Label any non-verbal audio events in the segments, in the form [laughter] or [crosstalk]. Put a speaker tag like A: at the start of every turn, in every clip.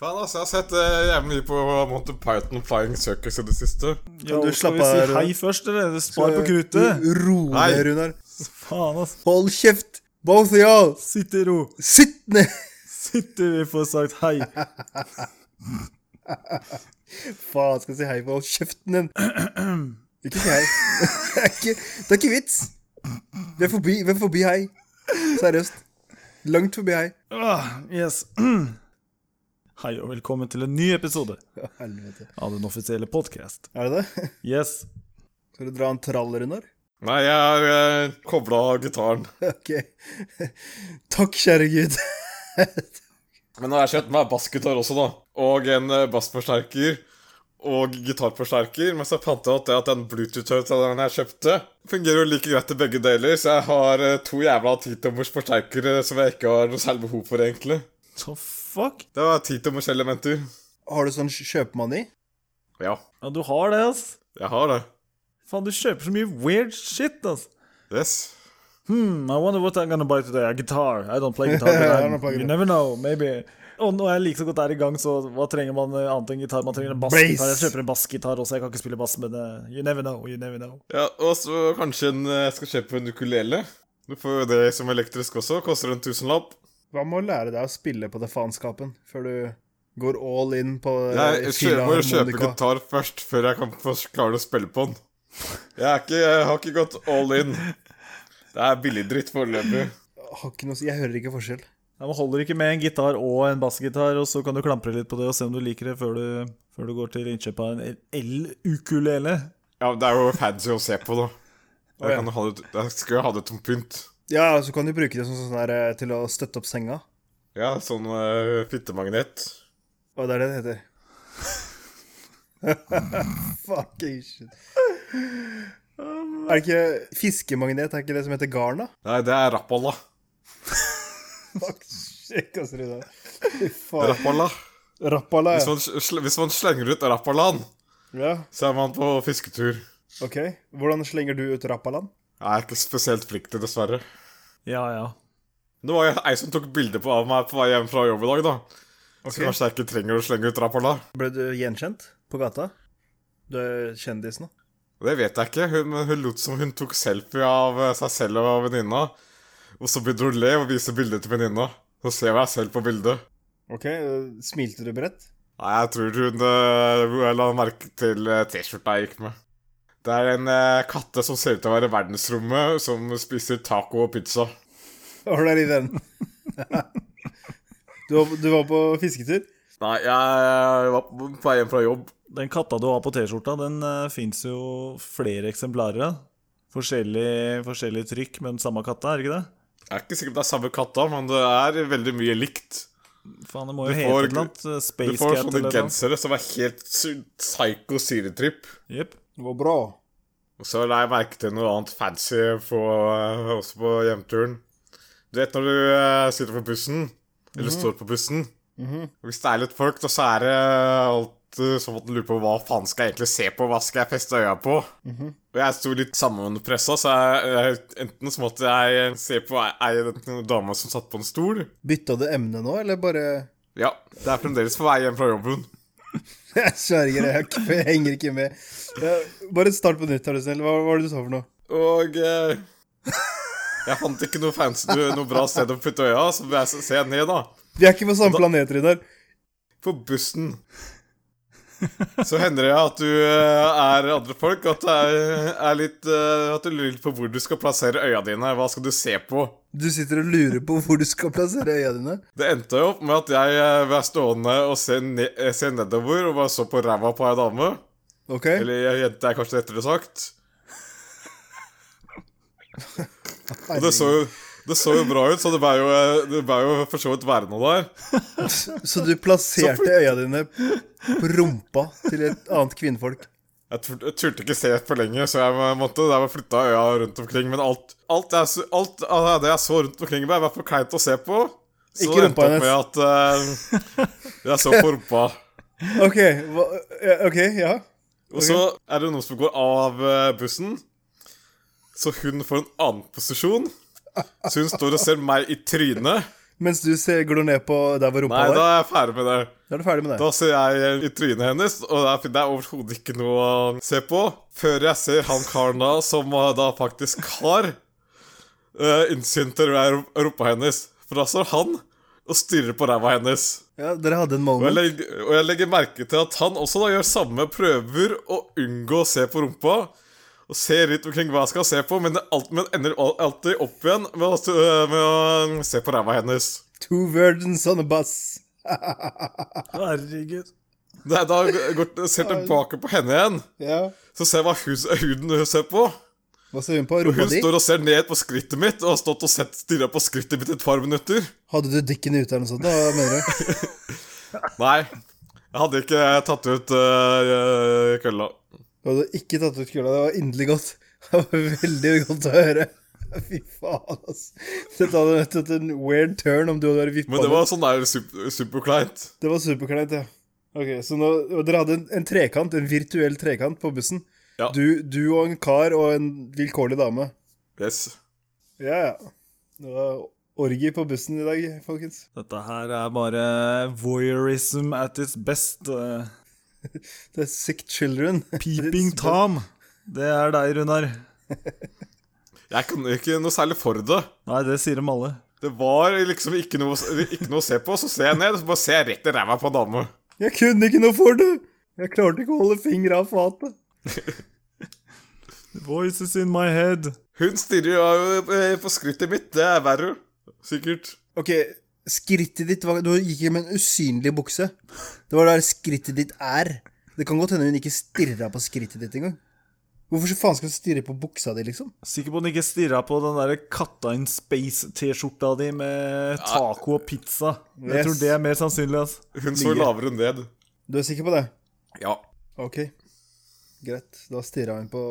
A: Faen, altså. Jeg har sett eh, jævlig mye på Monty Python Flying Circus i det siste.
B: Kan du slappe
C: Skal vi
B: av,
C: si hei først, eller? Spar på kruttet.
B: Eh, Ro ned,
A: Nei.
B: Runar.
C: Faen, ass.
B: Hold kjeft, both of y'all!
C: Sitt i ro.
B: Sitt ned! [laughs]
C: Sitt til vi får sagt hei.
B: Faen, skal jeg si hei på hold
A: [clears throat]
B: kjeften din? Ikke si hei. [laughs] Det er ikke, det er ikke vits. Vi er forbi, vi er forbi hei. Seriøst. Langt forbi hei.
C: Ah, yes. [clears throat] Hei og velkommen til en ny episode
B: Å, helvete.
C: av den offisielle podcast.
B: Er det det? [laughs]
C: Yes.
B: Skal du dra en trall, Runar? [laughs]
A: Nei, jeg har eh, kobla gitaren.
B: Ok. [laughs] Takk, kjære Gud. [laughs]
A: Men nå har jeg kjøpt meg bassgitar også, da. Og en eh, bassforsterker. Og gitarforsterker. Mens jeg fant ut at den Bluetooth-høyttaleren jeg kjøpte, fungerer jo like greit i begge deler, så jeg har eh, to jævla titommers forsterkere som jeg ikke har noe særlig behov for, egentlig.
C: Så fuck?
A: Det var titommers elementer.
B: Har du sånn kjøpmanni?
A: Ja,
C: Ja, du har det, ass.
A: jeg har det.
C: Faen, du kjøper så mye weird shit, ass.
A: Yes.
C: Hmm, I wonder what I'm gonna buy today. A guitar. I don't play
B: [laughs]
C: guitar, but
B: I
C: I'm-
B: don't play
C: you
B: guitar.
C: never know, maybe. Og når jeg like så godt er i gang, så hva trenger man eh, annet enn gitar? Man trenger en bassgitar. Jeg
B: Bass.
C: kjøper en bassgitar også, jeg kan ikke spille bass, men eh, you never know, you never know.
A: Ja, Og så kanskje en, eh, jeg skal kjøpe en ukulele. Du får jo det som elektrisk også. Koster en tusenlapp.
B: Hva med å lære deg å spille på det faenskapen før du går all in på
A: Jeg kjøper, kjøper gitar først, før jeg kan få klare å spille på den. Jeg, er ikke, jeg har ikke gått all in. Det er billigdritt foreløpig.
B: Har ikke noe å si. Jeg hører ikke forskjell.
C: Ja, man holder ikke med en gitar og en bassgitar, og så kan du klampre litt på det og se om du liker det før du, før du går til innkjøp av en el-ukulele.
A: Ja, det er jo fancy å se på, da.
B: Å, ja.
A: Jeg, kan ha det, jeg skal jo ha det som pynt.
B: Ja, så kan du bruke det som sånn der, eh, til å støtte opp senga.
A: Ja, sånn eh, fittemagnet.
B: Og det er det det heter. [laughs] Fucking shit. Er det ikke fiskemagnet? Er det ikke det som heter garn, da? [laughs]
A: Nei, det er rappalla.
B: Fuck, sjekk oss, Runar. Fy faen.
A: Rappalla.
B: Rappala,
A: Hvis
B: ja.
A: man, sl- hvis man slenger ut rappallaen,
B: ja.
A: så er man på fisketur.
B: Ok. Hvordan slenger du ut rappalaen?
A: Jeg er ikke spesielt flink til, dessverre.
C: Ja, ja.
A: Det var jo ei som tok bilde på- av meg på vei hjem fra jobb i dag, da. Så
B: Ok.
A: kanskje jeg ikke trenger å slenge ut rappalla.
B: Ble du gjenkjent på gata? Du er kjendis nå.
A: Det vet jeg ikke. Hun, men hun lot som hun tok selfie av eh, seg selv og av venninna. Og så begynner hun å le og vise bildet til venninna. Så ser jeg meg selv på bildet.
B: Ok, Smilte du bredt? [laughs]
A: Nei, jeg tror hun eh, la merke til eh, T-skjorta jeg gikk med. Det er en eh, katte som ser ut til å være i verdensrommet, som spiser taco og pizza.
B: Var du der i den? [laughs] du, var, du var på fisketur?
A: Nei, jeg var på vei hjem fra jobb.
C: Den katta du har på T-skjorta, den uh, fins jo flere eksemplarer av. Forskjellig, forskjellig trykk, men samme katta, er det ikke det?
A: Jeg er ikke sikker på om det er samme katta, men det er veldig mye likt.
C: Faen, det må
A: Du
C: jo hete
A: får-
C: et eller annet. eh,
A: Du
C: Space
A: får
C: Cat
A: sånne
C: eller noe.
A: gensere som er helt sy- psycho syretripp.
C: Jepp.
B: Det var bra.
A: Og så la jeg merke til noe annet fancy på, eh, også på hjemturen. Du vet når du eh, sitter på bussen, eller
C: Mhm.
A: står på bussen og Hvis det er litt folk, da så er det alltid sånn at du lurer på hva faen skal jeg egentlig se på, hva skal jeg feste øya på?
C: Mhm.
A: Og jeg sto litt sammenpressa, så jeg, jeg, enten så måtte jeg se på ei- ei dame som satt på en stol
B: Bytta du emne nå, eller bare [laughs]
A: Ja, det er fremdeles på vei hjem fra jobben.
B: Jeg sverger, jeg, er ikke- jeg henger ikke med. Ja, Bare start på nytt, er du snill. Hva hva var det du sa for noe?
A: Og eh, jeg fant ikke noe fancy, noe bra sted å putte øya, så jeg s- ser ned, da.
B: Vi er ikke på samme planet, Runar.
A: På bussen. Så hender det at du eh, er andre folk, at, det er, er litt, eh, at du lurer litt på hvor du skal plassere øya dine. Hva skal du se på?
B: Du sitter og lurer på hvor du skal plassere øya dine.
A: Det endte jo opp med at jeg eh, var stående og se, ne eh, se nedover og bare så på ræva på ei dame.
B: Ok?
A: Eller ei jente, er kanskje rettere sagt. Og det så, jo- det så jo bra ut, så det bør jo, eh, det bør jo for så vidt være noe der.
B: Så du plasserte øya dine på rumpa til et annet kvinnfolk.
A: Jeg tur- jeg turte ikke se for lenge, så jeg måtte der var flytta øya rundt omkring. Men alt, alt, jeg, så- alt av det jeg så rundt omkring, var i hvert fall kleint å se på. Så
B: Ikke
A: det endte
B: rumpa
A: opp med at eh, jeg så på
B: [laughs]
A: rumpa.
B: Ok, hva, ja, ok, ja.
A: Og så er det noen som går av eh, bussen, så hun får en annen posisjon. Så hun står og ser meg i trynet.
B: Mens du ser, glor ned på der hvor rumpa
A: Nei, da
B: var?
A: er jeg ferdig med det.
B: Da er du ferdig med det.
A: Da ser jeg i trynet hennes, og det er- det er overhodet ikke noe å se på. Før jeg ser han karen da, som eh, da faktisk har uh, innsyn til ru- rumpa hennes. For da står han og stirrer på ræva hennes.
B: Ja, dere hadde en
A: Og jeg,
B: moment.
A: legger, og jeg legger merke til at han også da gjør samme prøver å unngå å se på rumpa. Og ser litt omkring hva jeg skal se på, men, det alt, men ender al- alltid opp igjen med å, st- med å se på ræva hennes.
B: Two virgins on a bus.
C: Herregud.
A: Det er da jeg går, ser tilbake på henne igjen,
B: Ja.
A: så ser jeg hva hus, huden hun ser på.
B: Hva ser hun på? Rumpa
A: Hun
B: di?
A: står og ser ned på skrittet mitt, og har stått og sett stirra på skrittet mitt i et par minutter.
B: Hadde du dikken ute eller noe sånt? da, Hva mener du?
A: Nei, jeg hadde ikke tatt ut øh, kølla.
B: Du hadde ikke tatt ut kula. Det var inderlig godt. [laughs] Det var veldig godt å høre. [laughs] Fy faen, altså. Dette hadde vært et- en weird turn om du hadde vært vippa
A: Men det var sånn der super, superkleint.
B: Det var superkleint, ja. Ok, Så nå, og dere hadde en, en trekant, en virtuell trekant på bussen.
A: Ja.
B: Du, du og en kar og en vilkårlig dame.
A: Yes.
B: Ja, ja. Det var orgi på bussen i dag, folkens.
C: Dette her er bare voyeurism at its best. eh,
B: Det er Sick Children.
C: Peeping Tom. Det er deg, Runar.
A: Jeg kan ikke noe særlig for det.
C: Nei, det sier dem alle.
A: Det var liksom ikke noe, ikke noe å se på. Så ser jeg ned, så bare ser jeg rett i ræva på en dame.
B: Jeg kunne ikke noe for det! Jeg klarte ikke å holde fingra av fatet.
C: Voices in my head.
A: Hun stirrer jo eh, på skrittet mitt. Det er verre. Sikkert.
B: Ok, skrittet ditt var Du gikk med en usynlig bukse. Det var der skrittet ditt er. Det kan godt hende hun ikke stirra på skrittet ditt engang. Hvorfor så faen skal hun stirre på buksa di, liksom?
C: Sikker på den ikke stirra på den der Katta in Space-T-skjorta di med taco og pizza. Jeg
B: Yes.
C: tror det er mer sannsynlig. ass.
A: Hun så
B: Ligger.
A: lavere ned.
B: Du er sikker på det?
A: Ja.
B: Ok. Greit. Da stirra hun på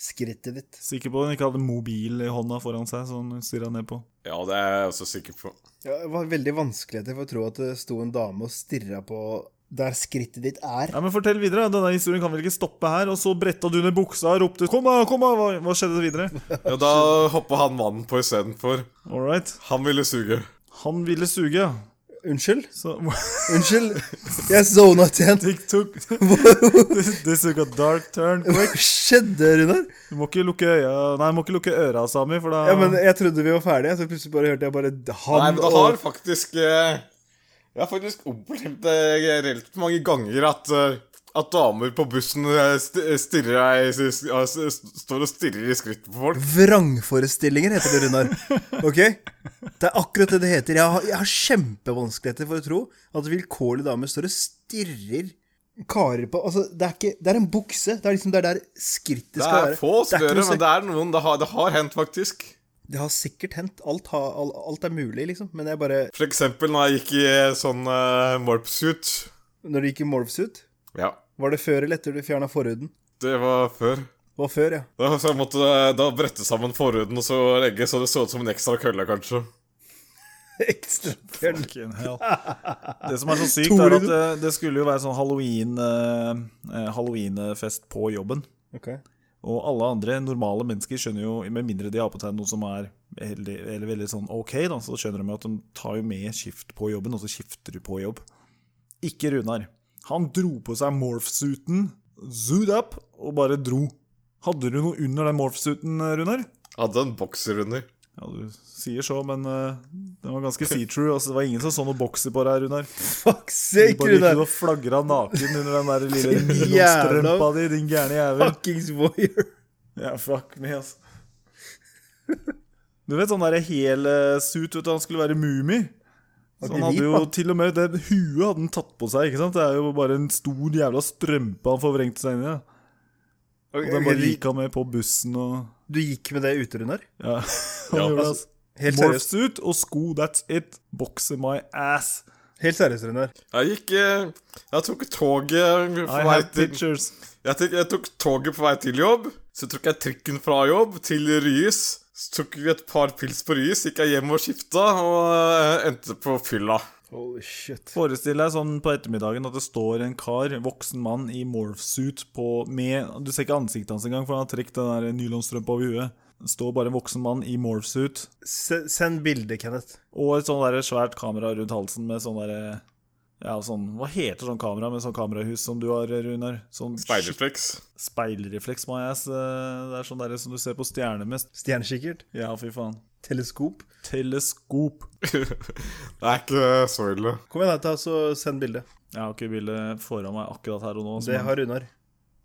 B: skrittet ditt.
C: Sikker på den ikke hadde mobil i hånda foran seg, som hun stirra ned på.
A: Ja, det er jeg også sikker på.
B: Ja, det var veldig vanskeligheter for å tro at det sto en dame og stirra på der skrittet ditt er.
C: Ja, men Fortell videre. Denne historien kan vel ikke stoppe her? Og så bretta du ned buksa og ropte 'kom da, kom da'. Hva, hva skjedde videre?
A: Ja, da hoppa han mannen på istedenfor.
C: [laughs] All right.
A: Han ville suge.
C: Han ville suge, ja.
B: Unnskyld?
C: så [laughs]
B: Unnskyld. Jeg zona ut igjen.
C: It took [laughs] This, this took a dark turn.
B: Hva skjedde, Runar?
C: Du må ikke lukke øya Nei, du må ikke lukke øra, Sami, for da
B: Ja, men jeg trodde vi var ferdige, så plutselig bare hørte jeg bare han
A: Nei, men det
B: og-
A: har faktisk eh, Jeg har faktisk opplevd det relativt mange ganger at eh, at damer på bussen eh, st- stirrer eh, s- s- s- står og stirrer i skrittet på folk.
B: Vrangforestillinger heter det, Runar. Ok? Det er akkurat det det heter. Jeg har, jeg har kjempevanskeligheter for å tro at vilkårlige damer står og stirrer karer på Altså, det er ikke Det er en bukse. Det er liksom det er der skrittet
A: Det
B: skal
A: er
B: være.
A: få
B: Det er
A: større,
B: ikke noe
A: men
B: sek-
A: det er noen. Det har, det har hendt, faktisk.
B: Det har sikkert hendt. Alt, har- all- alt er mulig, liksom. Men jeg bare
A: For eksempel når jeg gikk i sånn uh, morpsuit.
B: Når det gikk i morphsuit,
A: Ja,
B: var det før eller etter du fjerna forhuden?
A: det var før.
B: Det var før, ja. [laughs]
A: Da, så jeg måtte eh, da brette sammen forhuden og så legge så det så ut som en ekstra kølle, kanskje.
B: Ekstra køll.
C: Fucking hell. Det som er så sykt,
B: Tror
C: er
B: du
C: at det, det skulle jo være sånn halloween eh, eh, halloweenfest på jobben.
B: Ok.
C: Og alle andre normale mennesker skjønner jo, med mindre de har på seg noe som er heldig, eller veldig sånn ok, da, så skjønner de jo at de tar jo med skift på jobben, og så skifter du på jobb. Ikke Runar. Han dro på seg morphsuiten, zooed up, og bare dro. Hadde du noe under den morphsuiten, Runar?
A: Hadde en bokser under.
C: Ja, du sier så, men eh, den var [laughs] ganske see-true. Altså, det var ingen som så noe bokser på deg, Runar.
B: Fuck
C: Du
B: sake,
C: bare gikk ut
B: Runar.
C: og flagra naken under den der lille
B: Jævla-
C: nylonstrømpa di, din gærne jævel.
B: Fuckings voyeur.
C: Ja, fuck me, ass. Du vet sånn derre hel eh, suit, vet du, han skulle være mumi. Så
B: Var
C: han
B: det
C: hadde
B: hvit,
C: jo
B: da?
C: til og med det huet hadde han tatt på seg, ikke sant? Det er jo bare en stor jævla strømpe han forvrengte seg inn i. da. Og den bare gikk han med på bussen og
B: Du gikk med det ute, Runar?
C: Ja, [laughs] han
A: Ja,
C: gjorde det,
A: altså,
C: ass.
B: Helt seriøst,
C: Morphsuit og sko, that's it. Boxer my ass.
B: helt seriøst, Runar.
A: Jeg gikk eh, Jeg tok toget på
C: I
A: vei
C: have
A: til
C: pictures.
A: Jeg, tok- jeg tok toget på vei til jobb, så tok jeg trikken fra jobb til Ryes. Så tok vi et par pils på Ryes, gikk jeg hjem og skifta, og eh, endte på fylla.
B: Holy shit.
C: Forestill deg sånn på ettermiddagen at det står en kar, voksen mann, i morphsuit på med Du ser ikke ansiktet hans engang, for han har trukket den der nylonstrømpa over huet. står bare en voksen mann i morphsuit
B: Se, send bilde, Kenneth.
C: og et sånn der svært kamera rundt halsen med sånn derre ja, sånn, Hva heter sånn kamera med sånn kamerahus som du har, Runar? Sånn
A: Speiderflex.
C: speilrefleks, my ass. eh, Det er sånn der som du ser på stjerner med.
B: Stjernekikkert.
C: Ja, fy faen.
B: Teleskop.
C: Teleskop.
A: [laughs] Det er ikke så ille.
B: Kom igjen, da, ta så send bilde.
C: Jeg har ikke bildet foran meg akkurat her og nå.
B: Det
C: men-
B: har Runar.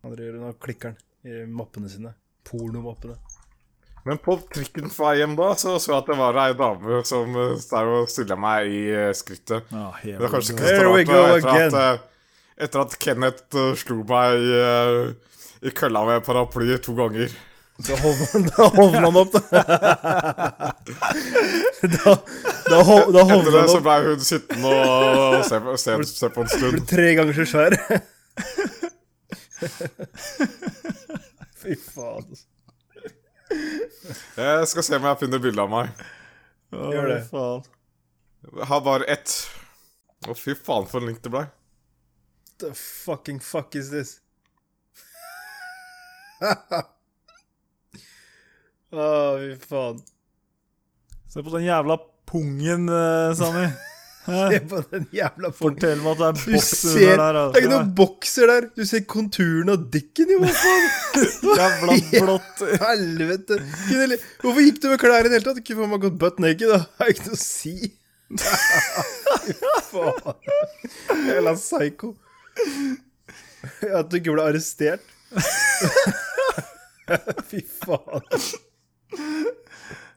B: Han driver og klikker den i mappene sine. Pornomappene.
A: Men på trikken på vei hjem da, så så jeg at det var ei dame som eh, der og stilla meg i eh, skrittet.
C: Ja,
A: Men det er kanskje ikke
B: Here
A: så
B: we
A: rart
B: go
A: da, etter
B: again.
A: at, eh, etter at Kenneth eh, slo meg i, eh, i kølla med paraply to ganger.
B: Da holder man, da hovner man opp, da. [laughs] da da, ho- da
A: Etter
B: hovner
A: det
B: man
A: så
B: opp.
A: ble hun sittende og se, på- se, se på en stund.
B: Tre ganger så svær. [laughs] Fy faen. altså.
A: Jeg skal se om jeg finner bilde av meg.
B: Gjør det.
C: Faen.
A: Jeg har bare ett. Å, fy faen, for en link det ble.
B: The fucking fuck is this? Å, fy faen.
C: Se på den jævla pungen, eh,
B: [laughs]
C: Sami.
B: Se
C: Hæ?
B: på den jævla folk.
C: Fortell meg at det er
B: Du
C: boks
B: ser
C: under der.
B: altså. Det
C: altså.
B: er ikke noen bokser der! Du ser konturen av dikken, jo! Hva faen? [laughs]
C: Jævla blått.
B: Helvete! Kunne li- Hvorfor gikk du med klær i det hele tatt? Du kunne faen meg gått butt naked, da. Det er ikke noe å si. Fy faen. Jævla psycho. At du ikke ble arrestert. Fy faen.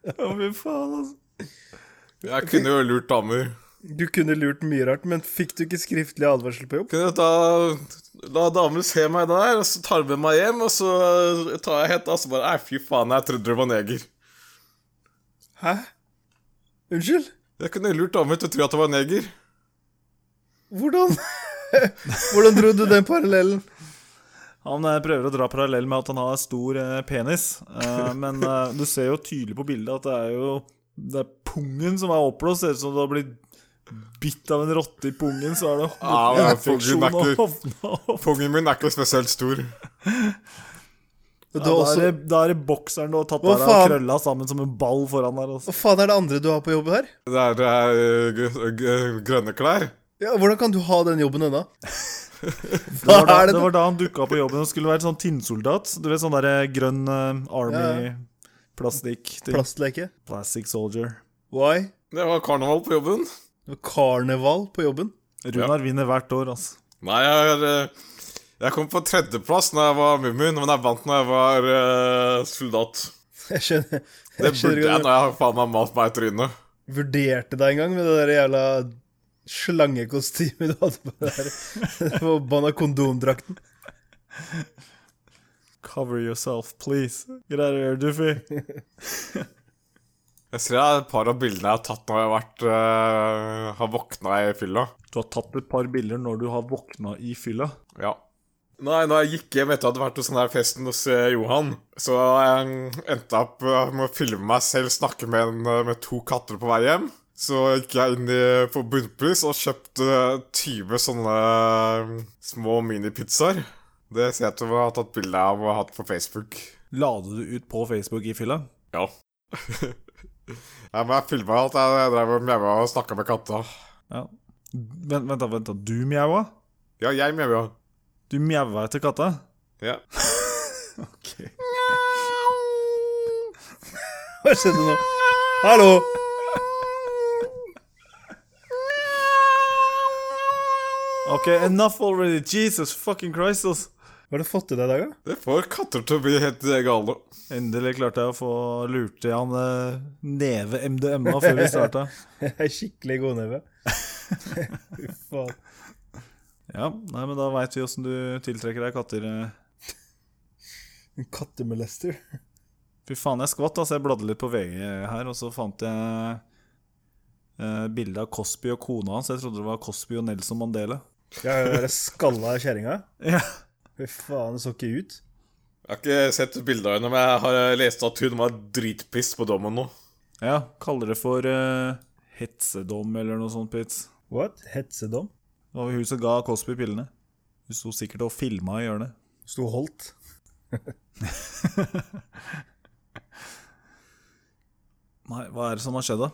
C: Å, fy faen, altså.
A: Jeg kunne jo lurt damer.
B: Du kunne lurt mye rart, men fikk du ikke skriftlig advarsel på jobb?
A: Kunne da La damer se meg der, og så tar de med meg hjem, og så tar jeg hetta, og så bare Nei, fy faen, jeg trodde du var neger.
B: Hæ? Unnskyld?
A: Jeg kunne lurt damer til å tro at jeg var neger.
B: Hvordan? [laughs] Hvordan dro du den parallellen?
C: Han eh, prøver å dra parallell med at han har stor eh, penis,
B: [laughs]
C: eh, men eh, du ser jo tydelig på bildet at det er jo det er pungen som er oppblåst. Ser ut som du har blitt bitt av en rotte i pungen, så er det
A: Ja, men pungen
C: infeksjon
A: er
C: og
A: ikke-
C: hovna [laughs] opp.
A: Pungen min er ikke spesielt stor.
B: Du
C: Ja,
B: har
C: da, er
B: også,
C: det, da er det bokseren du har tatt
B: Hva
C: der og
B: faen?
C: krølla sammen som en ball foran der.
B: hva
C: Altså.
B: faen er det andre du har på jobb her?
A: Det er, det er øh, g- g- grønne klær.
B: Ja, Hvordan kan du ha den
C: [laughs]
B: jobben ennå?
C: Det,
B: [laughs]
C: var da,
B: er det
C: det
B: du-
C: var da han dukka på jobben og skulle være sånn tinnsoldat. Du vet sånn derre grønn eh,
B: Ja,
C: Army
B: ja.
C: plastikk ting.
B: Plastleke?
C: Plastic soldier.
B: Why?
A: Det var karneval på jobben.
B: Det var Karneval på jobben? [laughs]
C: Runar vinner hvert år, altså.
A: Nei, jeg er øh, Jeg kom på tredjeplass når jeg var mummin, men jeg vant når jeg var øh, soldat.
B: Jeg skjønner,
A: Det
B: jeg skjønner
A: burde
B: ikke
A: jeg
B: at du
A: når jeg har faen meg malt meg i trynet.
B: vurderte deg en gang med det der jævla slangekostymet du hadde på deg der. [laughs] Den Forbanna kondomdrakten.
C: Cover yourself, please. Get out of here,
B: [laughs]
C: Doofy.
A: Jeg ser det er et par av bildene jeg har tatt når jeg har vært øh, Har våkna i fylla.
C: Du har tatt et par bilder når du har våkna i fylla.
A: Ja. Nei, da jeg gikk hjem etter at jeg hadde vært hos den her festen hos eh, Johan, så jeg endte jeg opp eh, med å filme meg selv snakke med, en, eh, med to katter på vei hjem. Så gikk jeg inn i, på Bunnpris og kjøpte eh, 20 sånne eh, små minipizzaer. Det ser jeg ut som jeg har tatt bilde av og hatt på Facebook.
C: La du det ut på Facebook i fylla?
A: Ja. [laughs] ja men jeg filma at jeg drev og mjaua og snakka med katta.
C: Ja. Vent, vent, da, vent da. Du mjaua?
A: Ja, jeg mjaua.
C: Du mjaua etter katta?
A: Ja.
C: Ok.
B: Hva skjedde nå? Hallo!
C: Ok, enough already. Jesus fucking Christ, ass.
B: Hva har du fått i deg i dag, da?
A: Det får katter til å bli helt eh, gale.
C: Endelig klarte jeg å få lurt i han eh, neve MDMA før vi starta.
B: Jeg er skikkelig [laughs] godneve. Fy faen.
C: Ja, nei, men da veit vi åssen du tiltrekker deg katter. eh.
B: En kattemolester.
C: Fy faen, jeg skvatt. Altså, jeg bladde litt på VG her, og så fant jeg eh, bilde av Cosby og kona hans. Jeg trodde det var Cosby og Nelson Mandela.
B: Ja, ja, ja, det skalla kjerringa.
C: Ja.
B: Fy faen, det så ikke ut.
A: Jeg har ikke sett bildet av henne, men jeg har lest at hun var dritpiss på dommen nå.
C: ja kaller det for eh, hetsedom eller noe sånt, Pitz.
B: What? Hetsedom?
C: Det var vel hun som ga Cosby pillene. Hun sto sikkert og filma i hjørnet.
B: Sto holdt.
C: Nei, hva er det som har skjedd, da?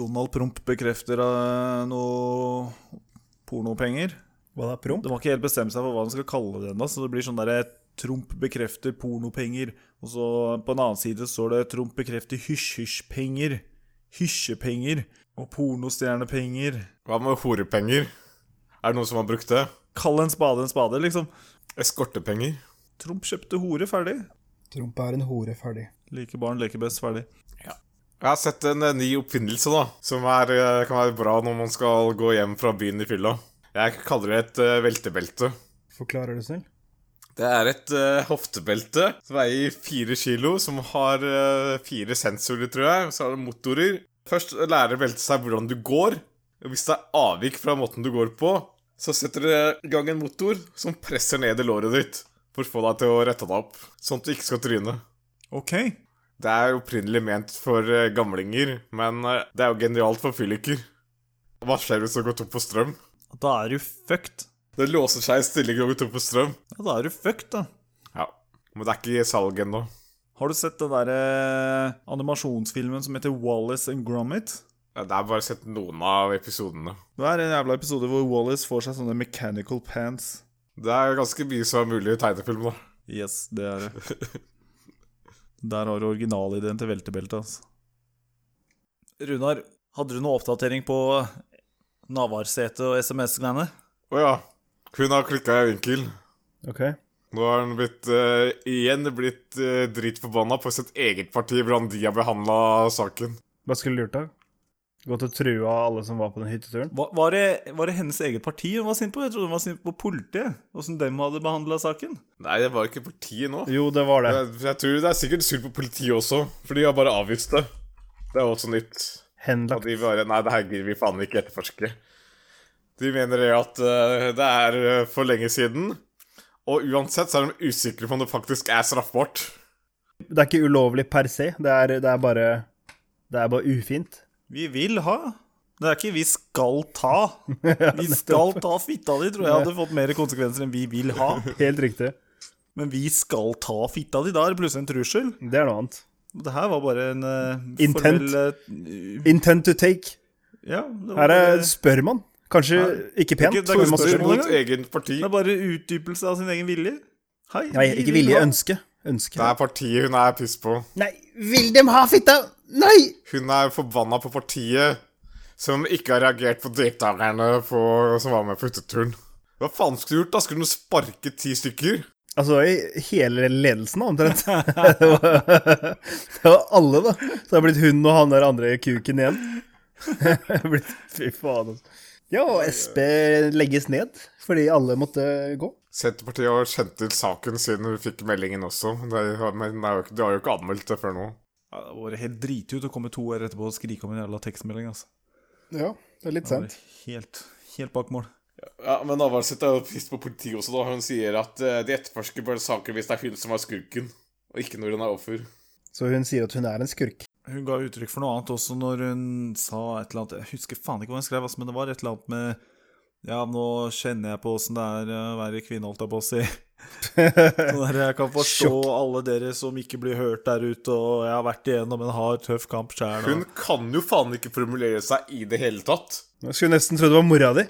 C: Donald Promp bekrefter eh, noe pornopenger.
B: Hva da, promp?
C: De har ikke helt bestemt seg for hva de skal kalle det ennå, så det blir sånn derre Trump bekrefter pornopenger. Og så på en annen side står det Trump bekrefter hysj-hysj-penger. Hysjepenger. Og pornostjernepenger.
A: Hva med horepenger? Er det noen som har brukt det?
C: Kall en spade en spade, liksom.
A: Eskortepenger?
C: Trump kjøpte hore ferdig.
B: Trump er en hore ferdig.
C: Like barn leker best ferdig.
A: Jeg har sett en eh, ny oppfinnelse da, som er, eh, kan være bra når man skal gå hjem fra byen i fylla. Jeg kaller det et eh, veltebelte.
B: Forklarer du snill?
A: Det er et eh, hoftebelte som veier fire kilo, som har eh, fire sensorer, tror jeg. Så har det motorer. Først lærer beltet seg hvordan du går. Og Hvis det er avvik fra måten du går på, så setter det i gang en motor som presser ned i låret ditt for å få deg til å rette deg opp, sånn at du ikke skal tryne.
C: Ok.
A: Det er opprinnelig ment for eh, gamlinger, men eh, det er jo genialt for fylliker. Hva skjer hvis du går tom for strøm?
C: Da er du fucked.
A: Det låser seg i stilling når du går tom for strøm.
C: Ja, da er du fucked, da.
A: Ja, Men det er ikke i salg ennå.
C: Har du sett den derre animasjonsfilmen som heter Wallace and Gromit?
A: Ja, Det er bare sett noen av episodene.
C: Det er en jævla episode hvor Wallace får seg sånne mechanical pants.
A: Det er ganske mye som er mulig i tegnefilm, da.
C: Yes, det er det. Der har du originalideen til veltebeltet, altså. Runar, hadde du noe oppdatering på Navarsete og SMS-greiene?
A: Å ja. Hun har klikka i vinkel.
B: Ok.
A: Nå har hun blitt, eh, igjen blitt eh, dritforbanna på sitt eget parti, hvordan de har behandla saken.
B: Hva skulle du gjort da? Gått og trua alle som var på den hytteturen?
C: Var, var, det, var det hennes eget parti hun var sint på? Jeg trodde hun var sint på politiet, åssen dem hadde behandla saken.
A: Nei, det var ikke partiet nå.
B: Jo, det var det.
A: Jeg, jeg tror det er sikkert synd på politiet også, for de har bare avvist det. Det er også nytt. Og
B: Henlagt.
A: de bare Nei, det her gidder vi faen ikke etterforske. De mener det at eh, det er eh, for lenge siden, og uansett så er de usikre på om det faktisk er straffbart.
B: Det er ikke ulovlig per se. Det er, det er bare Det er bare ufint.
C: Vi vil ha. Det er ikke 'vi skal ta'. Vi skal ta fitta di, tror jeg hadde fått mer konsekvenser enn 'vi vil ha'.
B: Helt riktig.
C: Men 'vi skal ta fitta di', da er det plutselig en trussel.
B: Det er noe annet.
C: Det her var bare en eh,
B: Intent.
C: formell, eh,
B: Intent to take.
C: ja, det, var
B: Her
C: bare,
B: er spør man. Kanskje ikke pent.
C: Ikke- det er ikke
B: men
A: Spør
B: man spør.
C: spørsmål.
A: mot egen parti.
C: det er bare utdypelse av sin egen vilje. Hei,
B: Nei,
C: vi
B: ikke
C: vil
B: vilje.
C: ha.
B: Ønske.
A: Det
B: Ønske.
A: er partiet hun er piss på.
B: Nei, vil dem ha fitta? Nei!
A: Hun er forbanna på partiet som ikke har reagert på deltakerne på, som var med på hytteturen. Hva faen skulle du gjort, da? Skulle du sparke ti stykker?
B: Altså i hele ledelsen, da, omtrent. [laughs] det, var, det var alle, da. Så det har blitt hun og han der andre kuken igjen. [laughs] Det har blitt, fy faen, altså. Ja, og SP legges ned fordi alle måtte gå.
A: Senterpartiet har kjent til saken siden hun fikk meldingen også. De har, men de har, jo ikke- de har jo ikke anmeldt det før nå.
C: Ja, Det var helt dritut å komme to år etterpå og skrike om en jævla tekstmelding. altså.
B: Ja, det er litt
C: Det var helt, helt bak mål.
A: Ja, Men Navarsete er jo piss på politiet også, da. Hun sier at eh, de etterforsker bare saker hvis det er hun som er skurken, og ikke når hun er offer.
B: Så hun sier at hun er en skurk.
C: Hun ga uttrykk for noe annet også når hun sa et eller annet Jeg husker faen ikke hva hun skrev, ass, men det var et eller annet med Ja, nå kjenner jeg på åssen det er eh, å være kvinne, holdt jeg på å si.
B: [laughs]
C: Sånn der, jeg kan forstå alle dere som ikke blir hørt der ute, og jeg har vært igjennom en hard, tøff kamp sjæl.
A: Hun kan jo faen ikke formulere seg i det hele tatt.
B: Jeg skulle nesten tro det var mora di.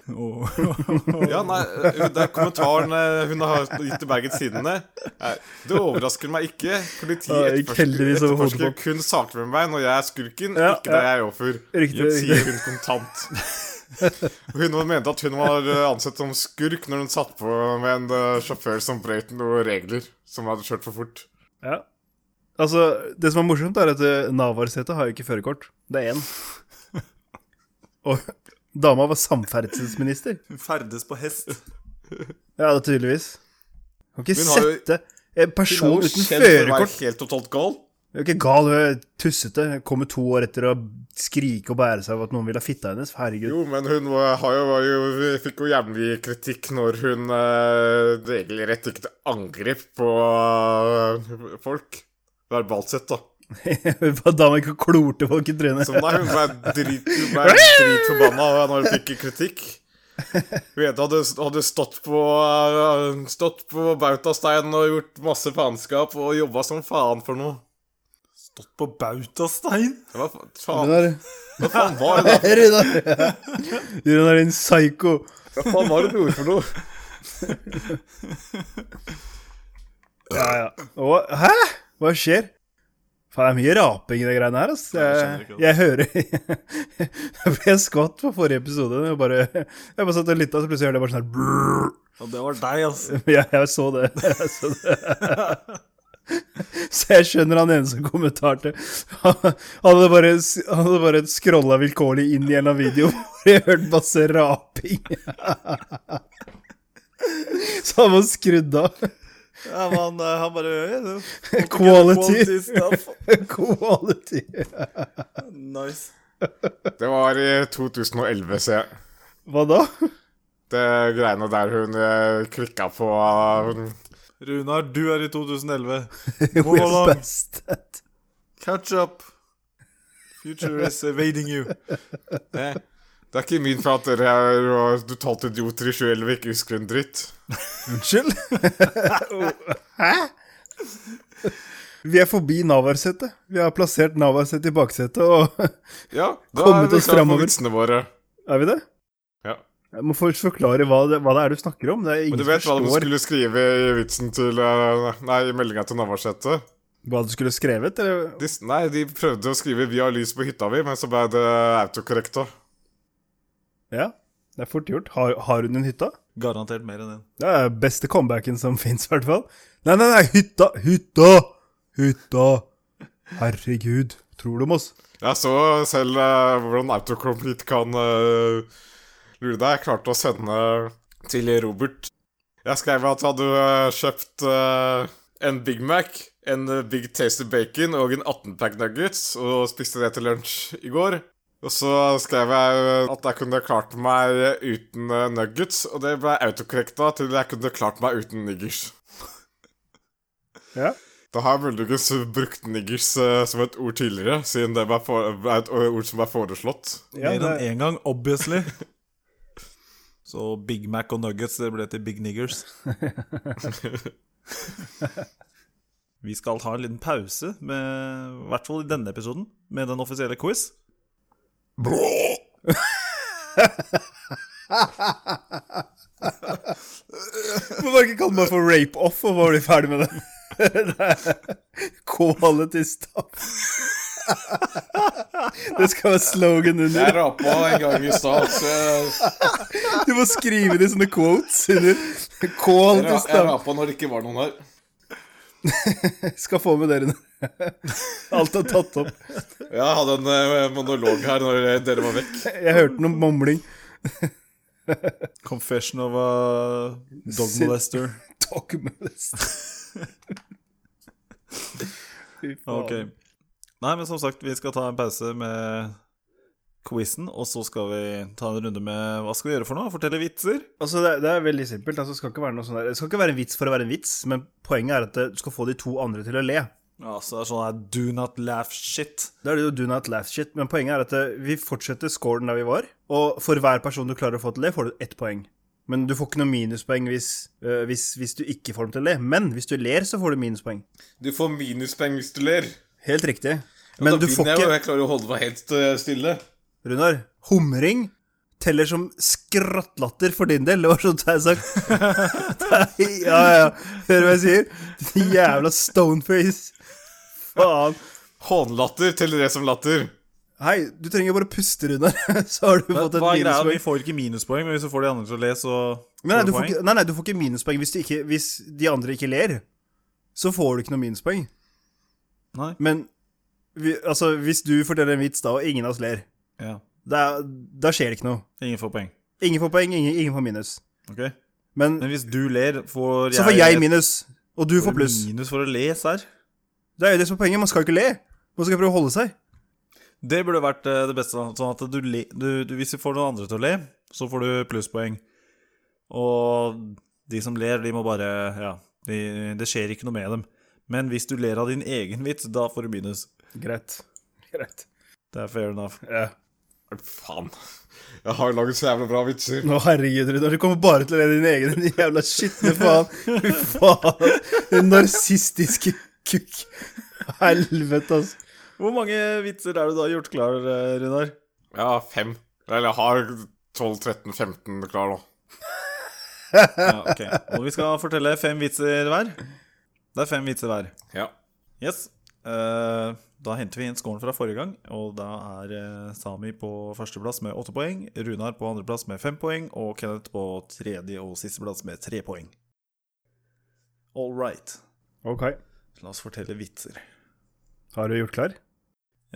A: Ja, nei, det er kommentaren eh, hun har gitt til Bergens Tidende. Nei, Det overrasker meg ikke.
B: Ja,
A: Politiet
B: jeg gikk heldigvis
A: etterforsker,
B: over hodet
A: etterforsker kun saker med meg når jeg er skurken,
B: Ja,
A: ikke når
B: ja.
A: jeg er offer.
B: Riktig, riktig.
A: Sier hun kontant. Hun mente at hun var eh, ansett som skurk når hun satt på med en eh, sjåfør som brøt noen regler, som hadde kjørt for fort.
B: Ja. Altså, det som er morsomt, er at eh, Navarsete har jo ikke førerkort. Det er én. [laughs] Og dama var samferdselsminister.
C: Hun ferdes på hest.
B: Ja, det tydeligvis. Du kan ikke
A: Hun har jo-
B: sette en
A: Hun
B: person
A: er jo
B: uten
A: kjent for å være
B: førerkort
A: helt totalt gal.
B: Hun er ikke gal, hun er tussete. Kommer to år etter å skrike og bære seg over at noen vil ha fitta hennes. Herregud. [laughs]
A: Jo, men hun var, har jo, var jo, fikk jo jævlig mye kritikk når hun eh, regelrett gikk til angrep på eh, folk. Verbalt sett, da.
B: Hva dama ikke klorte folk i trynet.
A: Så nei, hun ble drit, hun ble dritforbanna når hun fikk kritikk. Vete hadde, hadde stått på eh, Stått på bautasteinen og gjort masse faenskap og jobba som faen for noe.
C: stått på bautastein.
A: Hva fa- faen,
B: Runar,
A: hva faen var det?
B: Runar, Runar din psyko.
A: Hva faen var det du gjorde for noe?
B: Ja, ja. Og, hæ? Hva skjer? Faen, det er mye raping i de greiene her, ass.
C: Nei,
B: Jeg, jeg hører [laughs] Jeg ble skvatt på forrige episode. Jeg bare, jeg bare satt og lytta, så plutselig hørte jeg bare sånn her brrr.
C: Og det var deg, altså.
B: [laughs] Ja, jeg så det. [laughs] Jeg så, det. [laughs] så jeg skjønner han ene som kommentarte. Han [laughs] hadde bare, han hadde bare scrolla vilkårlig inn i en av videoene [laughs] hvor jeg hørte masse raping. [laughs] Så han var skrudd av. [laughs]
C: Ja, men han, eh, han bare eh, det- [laughs]
B: Quality.
C: stuff.
B: Quality.
C: Nice.
A: Det var i 2011, ser jeg.
B: Hva da?
A: Det greiene der hun eh, klikka på eh, hun-
C: Runar, du er i 2011.
B: We're
C: along.
B: best at
C: Catch up. Future is evading you.
A: det, det er ikke min feil at dere er og totalt idioter i 2011 ikke husker en dritt.
B: Unnskyld? [laughs] Hæ? Vi er forbi Navarsete. Vi har plassert Navarsete i baksetet, og [laughs]
A: Ja, da
B: Kommet
A: er vi
B: oss
A: klare
B: fremover.
A: for vitsene våre.
B: Er vi det?
A: Ja.
B: Jeg må først forklare hva det, hva det er du snakker om. Det er ingen
A: Men du vet hva
B: som
A: du
B: forstår
A: skulle skrive i vitsen til eh, Nei, i meldinga til Navarsete?
B: hva du skulle skrevet? Eller?
A: De, s- nei, de prøvde å skrive 'Vi har lys på hytta vi', men så ble det autokorrekt. da.
B: Ja, det er fort gjort. Har, har hun en hytta?
C: Garantert mer enn én.
B: Det er beste comebacken som [laughs] fins, i hvert fall. Nei, nei, nei, hytta! Hytta! Hytta! Herregud, tror du om oss?
A: Jeg så selv eh, hvordan autocomplete kan eh, lure deg. Jeg klarte å sende til Robert. Jeg skrev at jeg hadde eh, kjøpt eh, en Big Mac, en eh, Big Tasty Bacon og en 18-pack nuggets, og spiste det til lunsj i går. Og så skrev jeg eh, at jeg kunne klart meg uten eh, nuggets, og det ble autokorrekta til jeg kunne klart meg uten niggers.
B: Ja.
A: Da har jeg muligens brukt niggers eh, som et ord tidligere, siden det var for, er et ord som er foreslått.
C: mer
B: Ja,
C: enn
B: det-
C: én gang, obviously. Så Big Mac og Nuggets det ble til Big [laughs] Niggers. Vi skal ha en liten pause, med, i hvert fall i denne episoden, med den offisielle quiz.
B: Hvorfor var det ikke kalt meg for rape-off, og var du ferdig med det? det er quality stuff. det skal være slogan under.
A: rapa en gang i stad, så jeg,
B: Du må skrive det i sånne quotes under. Quality stuff.
A: rapa når det ikke var noen her.
B: Skal få med dere nå. Alt er tatt opp.
A: Jeg hadde en eh, monolog her når dere var vekk.
B: Jeg hørte noe mumling.
C: Confession of a dog
B: Sin-
C: molester.
B: Talk med det. Fy faen.
C: Ok. Nei, men som sagt, vi skal ta en pause med quizen, og så skal vi ta en runde med hva skal vi gjøre for noe? Fortelle vitser?
B: Altså, det, er- det er veldig simpelt. Altså, det, skal ikke være noe sånn der. det skal ikke være en vits for å være en vits, men poenget er at det- du skal få de to andre til å le.
C: Ja, så det er sånn her do not laugh shit.
B: Da er det jo do not laugh shit, men poenget er at eh, vi fortsetter scoren der vi var, og for hver person du klarer å få til det, får du ett poeng. Men du får ikke noe minuspoeng hvis, eh, hvis, hvis du ikke får dem til å le. Men hvis du ler, så får du minuspoeng.
A: Du får minuspoeng hvis du ler.
B: Helt riktig. Men du får ikke
A: Jeg klarer å holde meg helt eh, stille.
B: Runar, humring teller som skrattlatter for din del. Det var sånn jeg sagt.
C: [laughs]
B: Det er- [laughs] Ja, ja. Hører du hva jeg sier? Din jævla stoneface. Faen.
A: Hånlatter til det som latter.
B: Hei, du trenger bare puste, Runar, [laughs] så har du
C: Hva
B: fått et
C: er greia?
B: minuspoeng.
C: Vi får ikke minuspoeng, men hvis du får de andre til å le, så får
B: Men nei,
C: du
B: du får
C: poeng.
B: ikke, nei, nei, du får ikke minuspoeng hvis, du ikke, hvis de andre ikke ler. Så får du ikke noe minuspoeng.
C: Nei.
B: Men vi, altså, hvis du forteller en vits da, og ingen av oss ler,
C: Ja.
B: da, da skjer det ikke noe.
C: Ingen får poeng.
B: Ingen får poeng, ingen, ingen får minus.
C: Ok?
B: Men
C: Men hvis du ler, får jeg
B: så får jeg minus, og du får pluss.
C: Minus for å le, serr?
B: Det er jo det som er poenget. Man skal jo ikke le. Man skal prøve å holde seg.
C: Det burde vært eh, det beste. Sånn at du, le, du, du Hvis du får noen andre til å le, så får du plusspoeng. Og de som ler, de må bare Ja, de, det skjer ikke noe med dem. Men hvis du ler av din egen vits, da får du minus.
B: Greit. Greit.
C: Det er fair enough.
B: Ja.
A: Faen. Jeg har laget så jævla bra vitser.
B: Nå, herregud, Runar, du kommer bare til å le din egen din jævla skitne faen. Fy faen. Den narsistiske kukk. Helvete, altså.
C: Hvor mange vitser er du da gjort klar, eh, Runar?
A: Jeg har fem. Eller jeg har 12-13-15 klar nå.
C: Ja, ok. Og vi skal fortelle fem vitser hver. Det er fem vitser hver.
A: Ja.
C: Yes. Eh, da henter vi inn skåren fra forrige gang, og da er eh, Sami på førsteplass med åtte poeng, Runar på andreplass med fem poeng, og Kenneth på tredje og sisteplass med tre poeng. All right.
D: Ok.
C: La oss fortelle vitser.
D: Har du gjort klar?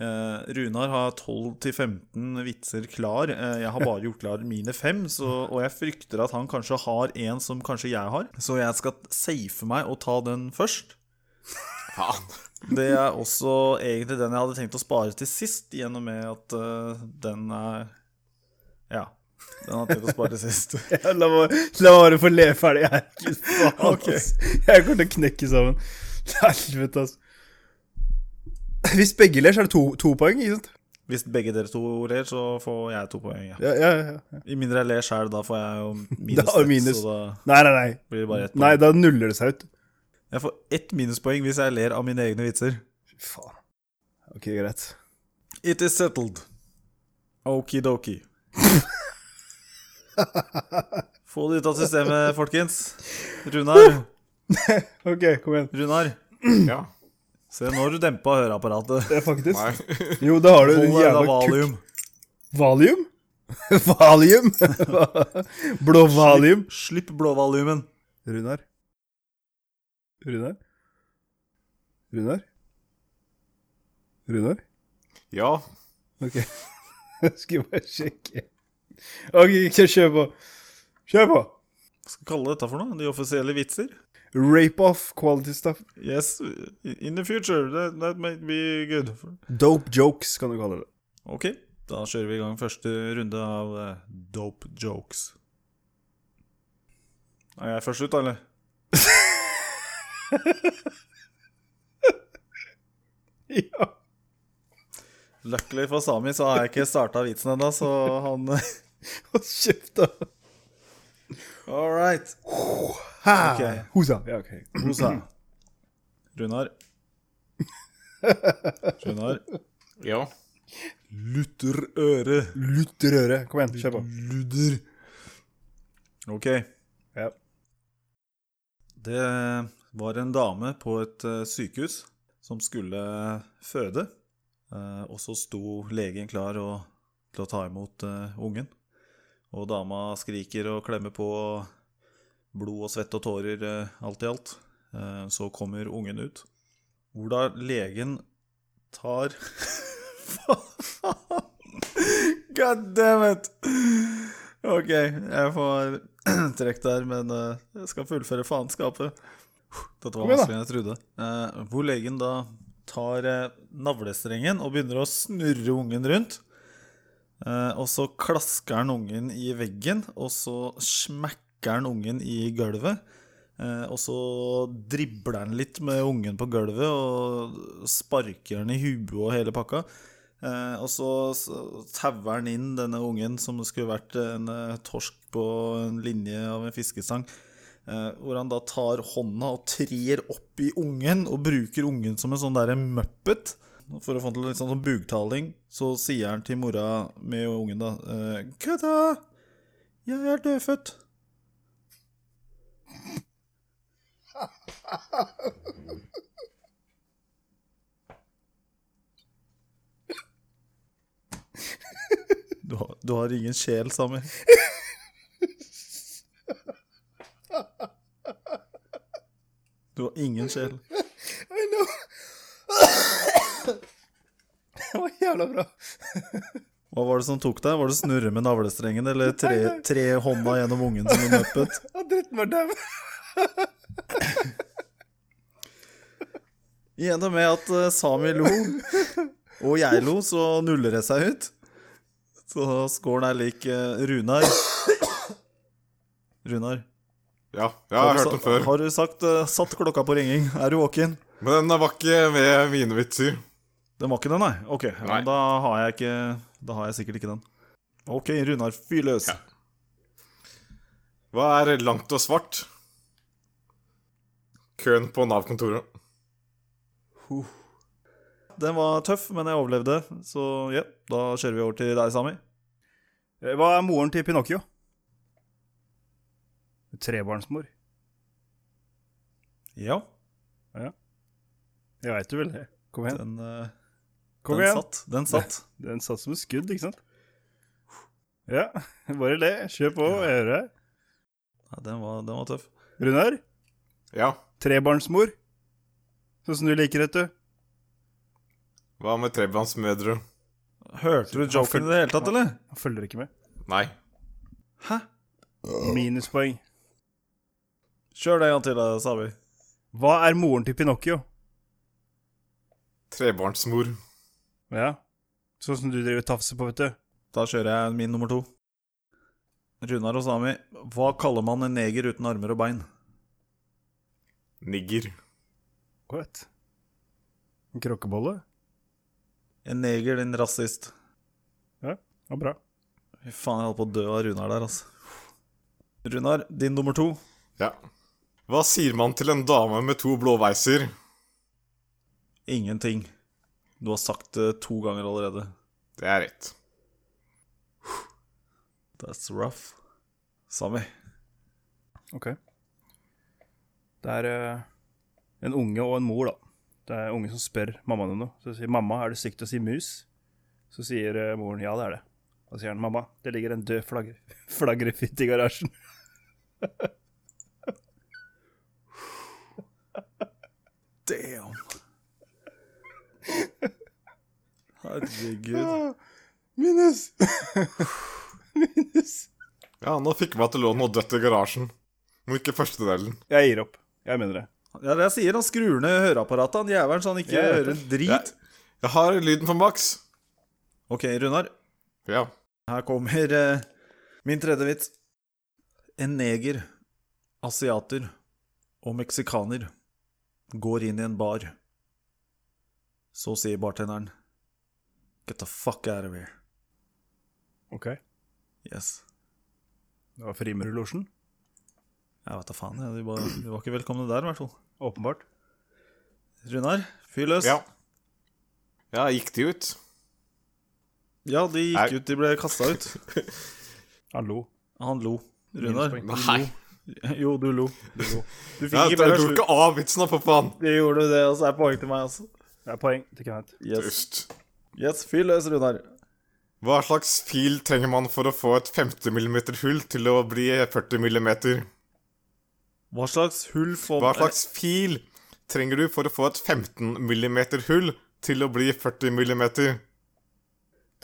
C: Eh, Runar har 12-15 vitser klar. Eh, jeg har bare gjort klar mine fem, så, og jeg frykter at han kanskje har en som kanskje jeg har. Så jeg skal safe meg og ta den først.
A: Faen.
C: Det er også egentlig den jeg hadde tenkt å spare til sist, gjennom med at eh, den er Ja. Den hadde jeg tenkt å spare til
B: [laughs]
C: sist.
D: Ja, la meg la meg bare få le ferdig. Jeg er ikke faen, ass. Jeg kommer til å knekke sammen. Helvete, altså.
B: Hvis begge ler, så er det to, to poeng, ikke sant?
C: Hvis begge dere to ler, så får jeg to poeng. Ja.
B: Ja, ja, ja.
C: I mindre jeg ler sjøl, da får jeg jo
B: [laughs]
C: minus,
B: Da har du
C: ett,
B: minus.
C: så da
B: Nei, nei, nei.
C: blir det bare ett
B: Nei,
C: poeng.
B: da nuller det seg ut.
C: Jeg får ett minuspoeng hvis jeg ler av mine egne vitser.
B: Fy faen. Ok, greit.
C: It is settled. Okidoki.
B: [laughs]
C: Få det ut av systemet, folkens. Runar,
B: Ok, kom igjen.
C: Runar.
A: Ja.
C: Se, nå har du dempa høreapparatet.
B: Det er faktisk.
A: Nei.
B: Jo, det har du. din
C: Hold deg
B: Jævla
C: da
B: kutt.
C: valium.
B: [laughs] Valium? Valium? Blå valium?
C: Slipp blåvaliumen.
B: Runar? Runar? Runar? Runar?
A: Ja.
B: Ok. [laughs] Jeg skulle bare sjekke. Ok, ikke kjør på. Kjør på!
C: Hva skal vi kalle dette for noe? De offisielle vitser?
B: Rape off quality stuff.
C: Yes, in the future. That, that might be good.
B: Dope jokes, kan du kalle det.
C: Ok, da kjører vi i gang første runde av eh, dope jokes. Er jeg først ut, da, eller?
B: [laughs] Ja.
C: Luckily for Sami så har jeg ikke starta vitsen ennå, så han [laughs]
B: Hold kjeft, da.
C: All right.
B: Ha!
C: Ok.
B: Hosa. Ja, ok. [clears throat]
C: Rosa.
B: [laughs]
C: Runar. Runar.
A: Ja.
C: Lutterøre.
B: Lutterøre. Kom igjen, kjør på.
C: Luder. Ok.
B: Ja.
C: Det var en dame på et eh, sykehus som skulle føde. eh, Og så sto legen klar og, til å ta imot eh, ungen. Og dama skriker og klemmer på og blod og svett og tårer, eh, alt i alt. Eh, Så kommer ungen ut. Hvor da legen tar [laughs] Faen! God damn it! Ok, jeg får [clears throat] trekk der, men eh, jeg skal fullføre faenskapet. Dette var
B: Kom igjen, da.
C: vanskeligere enn jeg trodde. Eh, Hvor legen da tar eh, navlestrengen og begynner å snurre ungen rundt. Eh, Og så klasker han ungen i veggen, og så smekker han ungen i gulvet. Eh, Og så dribler han litt med ungen på gulvet og sparker han i huet og hele pakka. Eh, Og så så tauer han inn denne ungen som det skulle vært en eh, torsk på en linje av en fiskestang. Eh, Hvor han da tar hånda og trer opp i ungen og bruker ungen som en sånn derre muppet. For å få til litt sånn bugtaling, så sier han til mora med ungen, da eh, Kødda! Jeg er dødfødt. Du har, du har ingen sjel, Sami. Du har ingen sjel.
B: I know. [coughs] det var jævla bra.
C: Hva var det som tok deg? Var det snurre med navlestrengen, eller tre, tre hånda gjennom ungen som en muppet?
B: At dritten var dau.
C: Gjennom med at eh, Sami lo, og jeg lo, så nuller det seg ut. Så scoren er lik eh, Runar. Runar,
A: Ja, jeg har
C: du
A: hørt den
C: sa-
A: før.
C: har du sagt, eh, satt klokka på ringing? Er du våken?
A: Men den var ikke med mine vitser.
C: Den var ikke den, nei? Ok, ja,
A: Nei.
C: men Da, har jeg ikke, da har jeg sikkert ikke den. Ok, Runar, fyr løs.
A: Ja. Hva er langt og svart? Køen på Nav-kontoret.
C: den var tøff, men jeg overlevde. Så ja, da kjører vi over til deg, Sami.
B: Hva er moren til Pinocchio? Trebarnsmor.
C: Ja,
B: Jeg veit du vel det. Kom igjen.
C: den, eh,
B: Kom
C: den
B: igjen.
C: satt. Den satt.
B: Den satt som et skudd, ikke sant? Ja, [laughs] bare le. Kjør på, jeg hører deg.
C: Ja, den, var, den var tøff.
B: Runar,
A: Ja.
B: trebarnsmor. Sånn som du liker det, du.
A: Hva med trebarnsmødre?
C: Hørte du joken i det hele tatt, eller?
B: Han følger
C: [clears throat]
B: ikke med.
A: Nei.
C: Hæ?
B: Minuspoeng.
C: Kjør det en gang til, da, Sami.
B: Hva er moren til Pinocchio?
A: Trebarnsmor.
B: Ja, sånn som du driver og tafser på, vet du.
C: Da kjører jeg min nummer to. Runar og Sami, hva kaller man en neger uten armer og bein?
A: Nigger.
B: What? En krokkebolle?
C: En neger, din rasist.
B: Ja, ja bra.
C: Fy faen, jeg holdt på å dø av Runar der, altså. Runar, din nummer to.
A: Ja. Hva sier man til en dame med to blåveiser?
C: Ingenting. Du har sagt det to ganger allerede.
A: Det er rett.
C: That's rough. Sami.
B: Ok. Det er eh, en unge og en mor, da. Det er ungen som spør mammaen om noe. Så sier mamma, er det stygt å si mus? Så sier eh, moren, ja det er det. Og så sier han, mamma, det ligger en død flagg [laughs] flagrefitt i [laughs] garasjen.
C: Damn.
B: [laughs]
C: Herregud.
B: Minus! [laughs] Minus.
A: Ja, nå fikk vi at det lå noe dødt i garasjen. Men ikke første delen.
B: Jeg gir opp. Jeg mener det.
C: Ja, det jeg sier, han skrur ned høreapparatet, han jævelen, så han ikke
B: Jeg vet
C: hører en drit.
A: Jeg, jeg har lyden på maks.
C: Ok, Runar.
A: Ja.
C: Her kommer eh, min tredje vits. En neger, asiater og meksikaner går inn i en bar. Så sier bartenderen Get the fuck out of here.
B: Ok.
C: Yes.
B: Det var frimurlosjen,
C: Jeg vet da faen, jeg. De var, de var ikke velkomne der, i hvert fall.
B: åpenbart.
C: Runar, fyr løs.
A: Ja. Ja, gikk de ut?
C: Ja, de
A: Nei.
C: gikk ut, de ble kasta ut.
B: Han lo.
C: Han lo. Runar.
B: Minuspoeng.
A: Nei.
C: [laughs] Jo, du lo. Du, lo.
A: Ja,
C: du fikk ikke
A: dere
C: bedre
A: tok
C: slutt.
A: ikke av vitsen, da, for faen.
C: Det gjorde du, det, og så er poeng til meg, altså.
B: Det er poeng til Kenneth.
C: Yes,
A: Dust.
C: yes fyr løs, Runar.
A: Hva slags fil trenger man for å få et 50 mm hull til å bli 40 mm?
C: Hva slags hull får
A: Hva slags fil trenger du for å få et 15 mm hull til å bli 40 mm?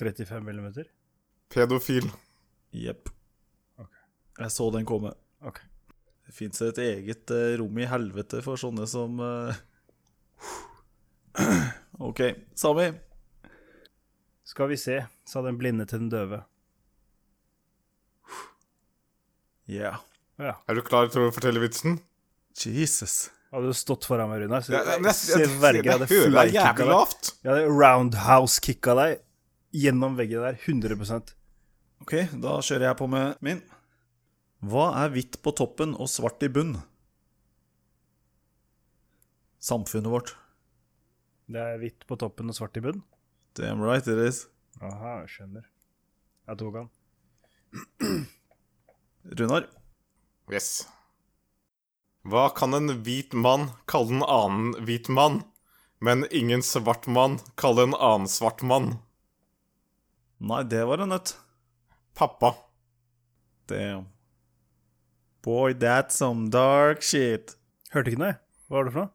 B: 35 millimeter.
A: Pedofil.
C: Jepp. Jeg så den komme.
B: Ok.
C: Det fins et eget eh, rom i helvete for sånne som eh, [clears throat] OK, Sami.
B: Skal vi se, sa den blinde til den døve.
C: Yeah.
B: Ja.
A: Er du klar til å fortelle vitsen?
C: Jesus.
B: Hadde du stått foran meg, Runar, så
A: Ja, men
B: jeg
A: jeg- jeg-
B: sverger jeg hadde
A: jeg hører deg
B: fleikikka
A: jævlig
B: deg.
A: lavt.
B: Jeg hadde roundhouse-kicka deg gjennom veggen der, 100
C: OK, da kjører jeg på med min. Hva er hvitt på toppen og svart i bunn? Samfunnet vårt.
B: Det er hvitt på toppen og svart i bunnen.
C: Damn right it is.
B: Aha, jeg skjønner. Jeg tok han.
C: Runar.
A: Yes. Hva kan en hvit mann kalle en annen hvit mann, men ingen svart mann kalle en annen svart mann?
C: Nei, det var en nøtt.
A: Pappa.
C: Damn. Boy, that's some dark shit.
B: Hørte ikke noe, jeg. Hva var det for noe?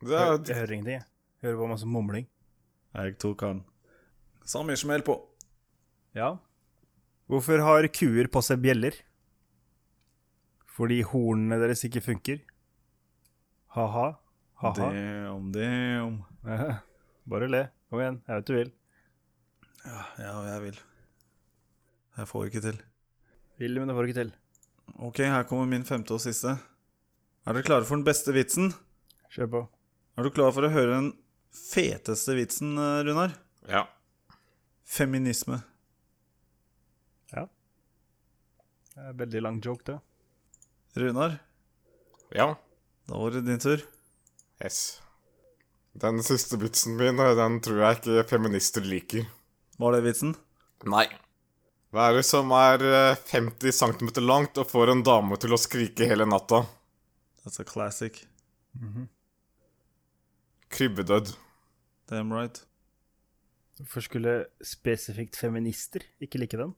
A: Det
B: Jeg,
A: er,
B: jeg hører ingenting, jeg. jeg. Hører bare masse mumling.
C: Jeg tok han. Sami, smell på.
B: Ja. Hvorfor har kuer på seg bjeller? Fordi hornene deres ikke funker. Ha-ha. Ha-ha.
C: Damn, damn.
B: Ja, [laughs] Bare le. Kom igjen. Jeg vet du vil.
C: Ja, jeg vil. Jeg får ikke til.
B: Vil, men det får du ikke til.
C: Ok, her kommer min femte og siste. Er dere klare for den beste vitsen?
B: Kjør på.
C: Er du klar for å høre den feteste vitsen, eh, Runar?
A: ja.
C: Feminisme.
B: Det er veldig lang joke, det.
C: Runar,
A: Ja.
C: da var det din tur.
A: Yes. Den siste vitsen min, eh, den tror jeg ikke feminister liker.
C: Var det vitsen?
A: Nei. Hva er det som er eh, 50 cm langt og får en dame til å skrike hele natta?
C: That's a classic.
A: Krybbedød.
C: Damn right.
B: Hvorfor skulle spesifikt feminister ikke like den?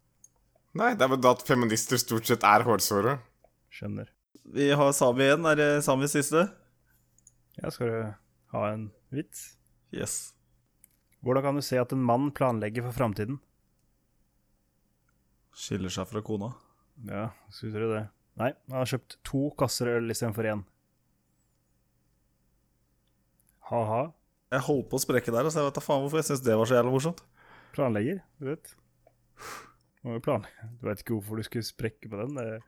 A: Nei, det er vel da at feminister stort sett er hårsåre.
B: Skjønner.
C: Vi har Sami igjen. Er det Samis siste?
B: Ja, skal du ha en vits?
C: Yes.
B: Hvordan kan du se at en mann planlegger for framtiden?
C: Skiller seg fra kona.
B: Ja, skulle tro det. Nei, han har kjøpt to kasser øl istedenfor én. Ha-ha.
C: Jeg holdt på å sprekke der, altså jeg vet da faen hvorfor jeg syns det var så jævla morsomt.
B: Planlegger, du vet. Må jo planlegge. Du veit ikke hvorfor du skulle sprekke på den. Det,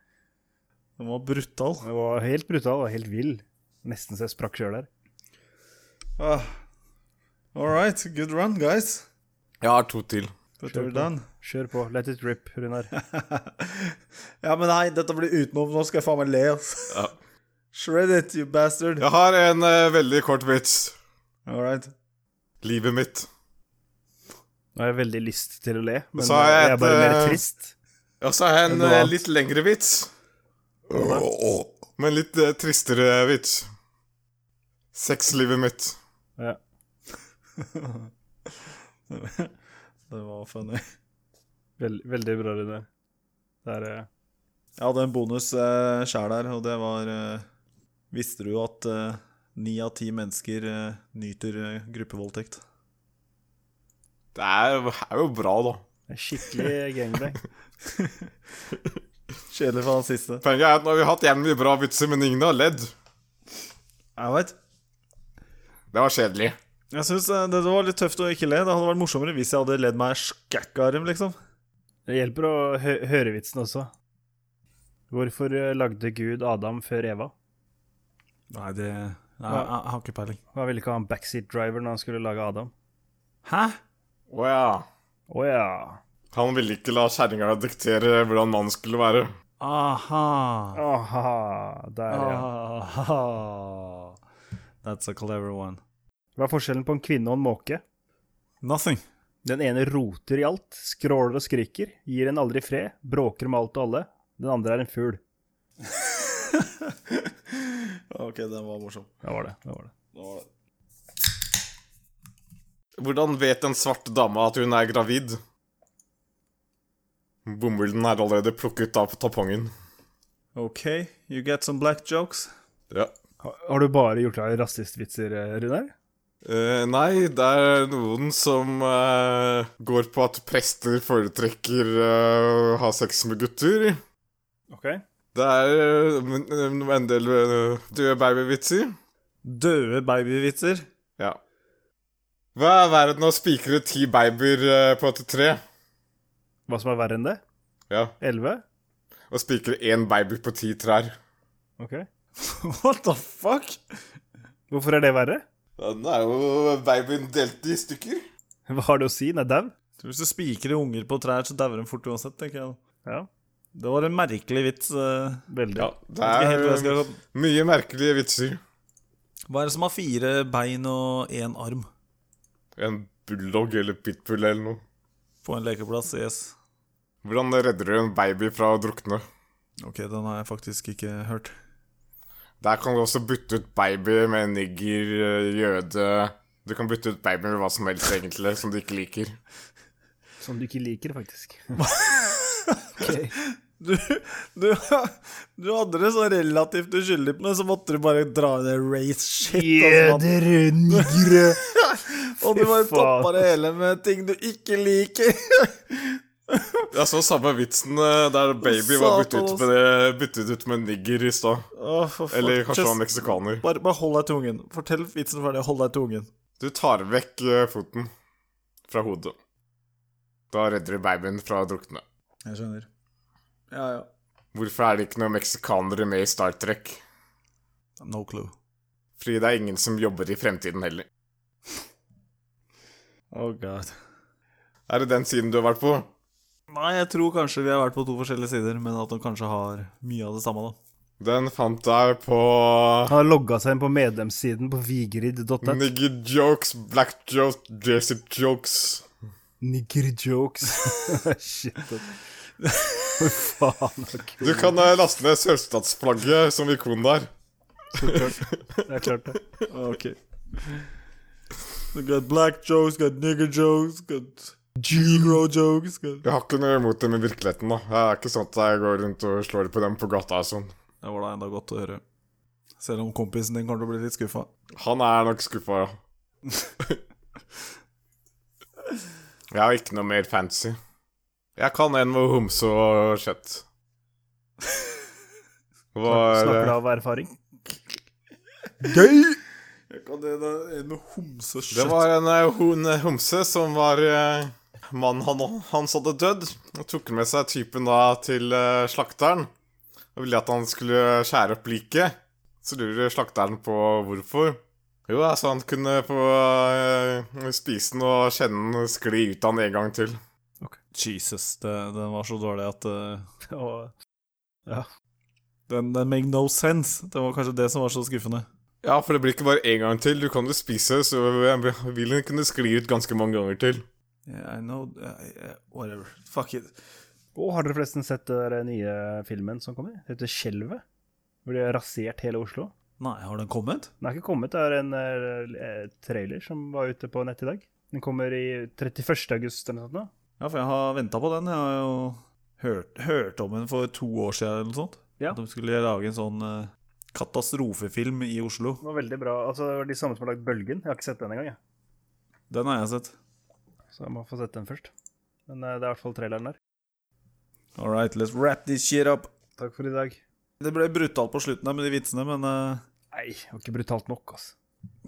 C: Den var brutal.
B: det var helt brutal og helt vill. Nesten så jeg sprakk sjøl der.
C: Ah. All right, good run, guys.
A: Jeg har to til.
C: But
B: Sure.
C: we're done. [laughs]
B: Kjør på. Let it rip, Runar.
C: ja, men nei, dette blir utenom. Nå skal jeg faen meg le, altså.
A: Ja.
C: Shred it, you bastard.
A: Jeg har en eh, veldig kort vits.
C: All right.
A: Livet mitt.
B: Nå har jeg veldig lyst til å le, men
A: Så har
B: jeg,
A: jeg
B: er bare
A: et,
B: mer
A: eh,
B: trist.
A: Og så har jeg en
C: Noe
A: eh,
C: annet.
A: litt lengre vits. Men litt eh, tristere vits. Sexlivet mitt.
B: Ja.
C: det var funny.
B: Vel- veldig bra, Runar. Det er eh,
C: Jeg hadde en bonus uh, sjæl her, og det var eh, Visste du at eh, ni av ti mennesker eh, nyter eh, gruppevoldtekt?
A: Det er, er jo bra, da.
B: det er skikkelig gangbang.
C: Kjedelig for han siste.
A: Poenget er at nå har vi hatt jævlig mye bra vitser, men ingen har ledd.
C: Jeg veit.
A: Det var kjedelig.
C: Jeg syns det var litt tøft å ikke le. Det hadde vært morsommere hvis jeg hadde ledd meg skækka arm, liksom.
B: Det hjelper å hø høre vitsen også. Hvorfor eh, lagde Gud Adam før Eva?
C: Nei, det Jeg, har ikke peiling.
B: Han ville ikke ha en backseat driver når han skulle lage Adam.
C: Hæ?
A: Å ja.
B: Å ja.
A: Han ville ikke la kjerringa diktere hvordan mannen skulle være.
C: Aha.
B: Aha, der, ja.
C: Aha. That's a clever one.
B: Hva er forskjellen på en kvinne og en måke?
C: Nothing. [laughs]
B: Den ene roter i alt, skråler og skriker, gir en aldri fred, bråker med alt og alle. Den andre er en fugl.
C: OK, den var morsom.
B: Det var det. det var det.
C: Det var det.
A: Hvordan vet en svart dame at hun er gravid? Bomullen er allerede plukket av tampongen.
C: OK, you get some black jokes.
A: Ja.
B: Har, har du bare gjort deg rasistvitser, eh, Runar?
A: Eh, nei, det er noen som eh, går på at prester foretrekker eh, å ha sex med gutter.
B: OK.
A: Det er eh, men- eh, en del eh, døde babyvitser.
C: Døde babyvitser.
A: Ja. Hva er verre enn å spikre ti babyer eh, på et tre?
B: Hva som er verre enn det?
A: Ja.
B: Elleve?
A: Å spikre én baby på ti trær.
B: OK.
C: [laughs] What the fuck?
B: Hvorfor er det verre? [laughs]
A: Den er jo babyen delt i stykker.
B: Hva har det å si? Den er dau?
C: Tror Hvis du spikrer unger på trær, så dauer de fort uansett, tenker jeg.
B: Ja,
C: Det var en merkelig vits. eh.
B: veldig.
A: Ja, det
C: Jeg vet ikke helt hvor jeg
A: er
C: skal
A: eh,
C: gå.
A: mye merkelige vitser.
C: Hva er det som har fire bein og én arm
A: En bulldog eller pitbull eller noe.
C: på en lekeplass? Yes.
A: Hvordan redder du en baby fra å drukne?
C: Ok, den har jeg faktisk ikke hørt. [laughs]
A: Der kan du også bytte ut baby med nigger, eh, jøde Du kan bytte ut baby med hva som helst, egentlig, som du ikke liker.
B: Som du ikke liker, faktisk.
C: Du, du, du hadde det så relativt uskyldig, men så måtte du bare dra i det race shit. altså,
B: nigre
C: mann. [laughs] og du bare
B: Fy faen.
C: toppa det hele med ting du ikke liker.
A: Jeg så samme vitsen eh, der baby var byttet ut med, byttet ut med nigger i stad.
C: Å, for fuck.
A: Eller kanskje
C: Just-
A: han liksom- var meksikaner.
C: Bare, bare hold deg til ungen. Fortell vitsen ferdig. Hold deg til ungen.
A: Du tar vekk eh, foten fra hodet. Da redder du babyen fra å drukne.
C: Jeg skjønner. Ja, ja.
A: Hvorfor er det ikke noen meksikanere med i Star Trek?
C: No clue.
A: Fordi det er ingen som jobber i fremtiden heller.
C: Oh god.
A: Er det den siden du har vært på?
C: Nei, jeg tror kanskje vi har vært på to forskjellige sider, men at de kanskje har mye av det samme, da.
A: Den fant jeg på
B: Han [laughs] har logga seg inn på medlemssiden på vigrid.net.
A: Nigger jokes, black jokes, Jesse jokes.
B: Nigger jokes. [laughs] Shit. ass. Hva faen? ok.
A: Du kan eh, laste ned sørstatsflagget som ikon der.
B: Det er klart, det.
C: [laughs] Ok. We got black jokes, got nigger jokes, got negro jokes got...
A: Jeg har ikke noe imot det med virkeligheten, da. Det er ikke sånn at jeg går rundt og slår på dem på gata og sånn.
C: Det var da enda godt å høre. Selv om kompisen din kommer til å bli litt skuffa.
A: Han er nok skuffa, ja. jeg har ikke noe mer fancy. Jeg kan en med homse og kjøtt. Hva er
B: Snakker du
A: det?
B: av erfaring?
C: Gøy! Jeg kan det da en med homsekjøtt.
A: Det var en eh, hon, homse som var eh, Mannen han, hans hadde dødd. Og tok med seg typen da til eh, slakteren og ville at han skulle skjære opp liket. Så lurer slakteren på hvorfor. Jo, da, så han kunne få eh, spise den og kjenne den skli ut av den en gang til.
C: Jesus, det, den var så dårlig at eh,
B: Og
C: den, den made no sense. Det var kanskje det som var så skuffende.
A: Ja, for det blir ikke bare én gang til. Du kan jo spise, så eh, vil den kunne skli ut ganske mange ganger til.
C: Yeah, I know I- I- Whatever. Fuck it.
B: og har dere forresten sett den nye filmen som kommer? Det heter Skjelvet. Hvor de har rasert hele Oslo.
C: Nei, har den kommet?
B: Den er ikke kommet, det er en eh, trailer som var ute på nett i dag. Den kommer i 31. august eller noe sånt. nå.
C: Ja, for jeg har venta på den. Jeg har jo hørt, hørt om den for to år siden eller noe sånt.
B: Ja.
C: At de skulle lage en sånn eh, katastrofefilm i Oslo.
B: Den var veldig bra. Altså, det var de samme som har lagd Bølgen. Jeg har ikke sett den engang, jeg.
C: Den har jeg sett.
B: Så jeg må få sett den først. Men eh, det er i hvert fall traileren der.
C: All right, let's wrap this shit up.
B: Takk for i dag.
C: Det ble brutalt på slutten her med de vitsene, men eh,
B: Nei, det var ikke brutalt nok, altså.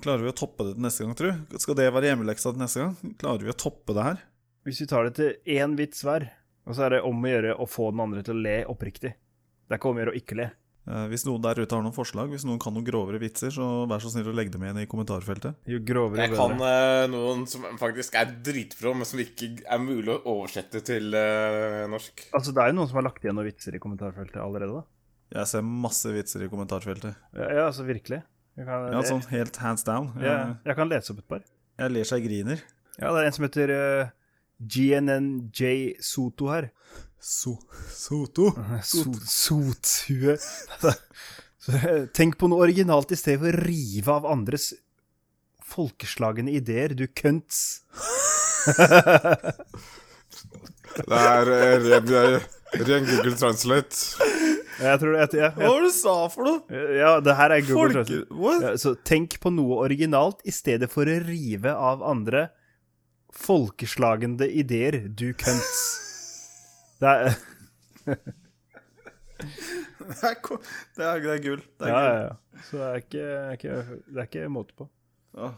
C: klarer vi å toppe det til neste gang, tror du? Skal det være hjemmeleksa til neste gang? Klarer vi å toppe det her?
B: Hvis vi tar det til én vits hver, og så er det om å gjøre å få den andre til å le oppriktig. Det er ikke om å gjøre å ikke le.
C: Eh, hvis noen der ute har noen forslag, hvis noen kan noen grovere vitser, så vær så snill å legge dem igjen i kommentarfeltet.
B: Jo grovere,
A: Jeg
B: jo
A: kan
B: bedre.
A: eh, noen som faktisk er dritbra, men som ikke er mulig å oversette til eh, norsk.
B: Altså, det er jo noen som har lagt igjen noen vitser i kommentarfeltet allerede, da.
C: Jeg ser masse vitser i kommentarfeltet.
B: Ja, ja altså virkelig. Jeg kan,
C: Ja, sånn helt hands down.
B: jeg,
C: Jeg,
B: jeg kan lese opp et par.
C: jeg ler så jeg griner.
B: Ja, det er en som heter eh, GNNJ Soto her.
C: So Soto.
B: Sot, sothue. [laughs] Så, eh, Tenk på noe originalt i stedet for å rive av andres folkeslagne ideer, du kønts.
A: Det er eh, ren, ren Google Translate.
B: Jeg tror det, jeg, jeg,
C: Hva var det du sa for noe?
B: jeg, ja, det her er Google
C: Folke...
B: Translate.
C: What?
B: Ja, så tenk på noe originalt i stedet for å rive av andre folkeslagende ideer, du kønts. [laughs] Det er
C: Det er, ko- det er, det er gull. Det er
B: Ja, ja,
C: gull.
B: ja. Så det er ikke, ikke, det er ikke måte på.
C: Åh,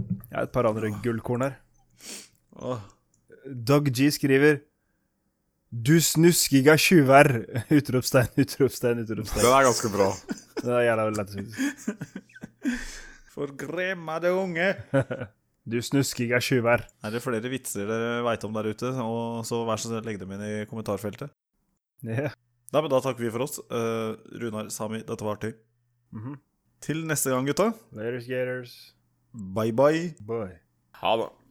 B: Jeg har et par andre gullkorn her.
C: åh.
B: Doug G skriver Du snuskiga tjuver! [laughs] Utropstegn, utropstegn, utropstegn.
A: Den er ganske bra.
B: Det er jævla lættis.
C: For gremmede unge.
B: [laughs] Du snuskiga tjuver.
C: Er det flere vitser dere veit om der ute, og så vær så snill legg dem inn i kommentarfeltet.
B: Ja.
C: Nei, men Da takker vi for oss. Eh, Runar, Sami, dette var artig.
B: Mhm.
C: Til neste gang, gutta.
B: Later, skaters.
C: Bye bye.
B: Boy.
A: Ha det.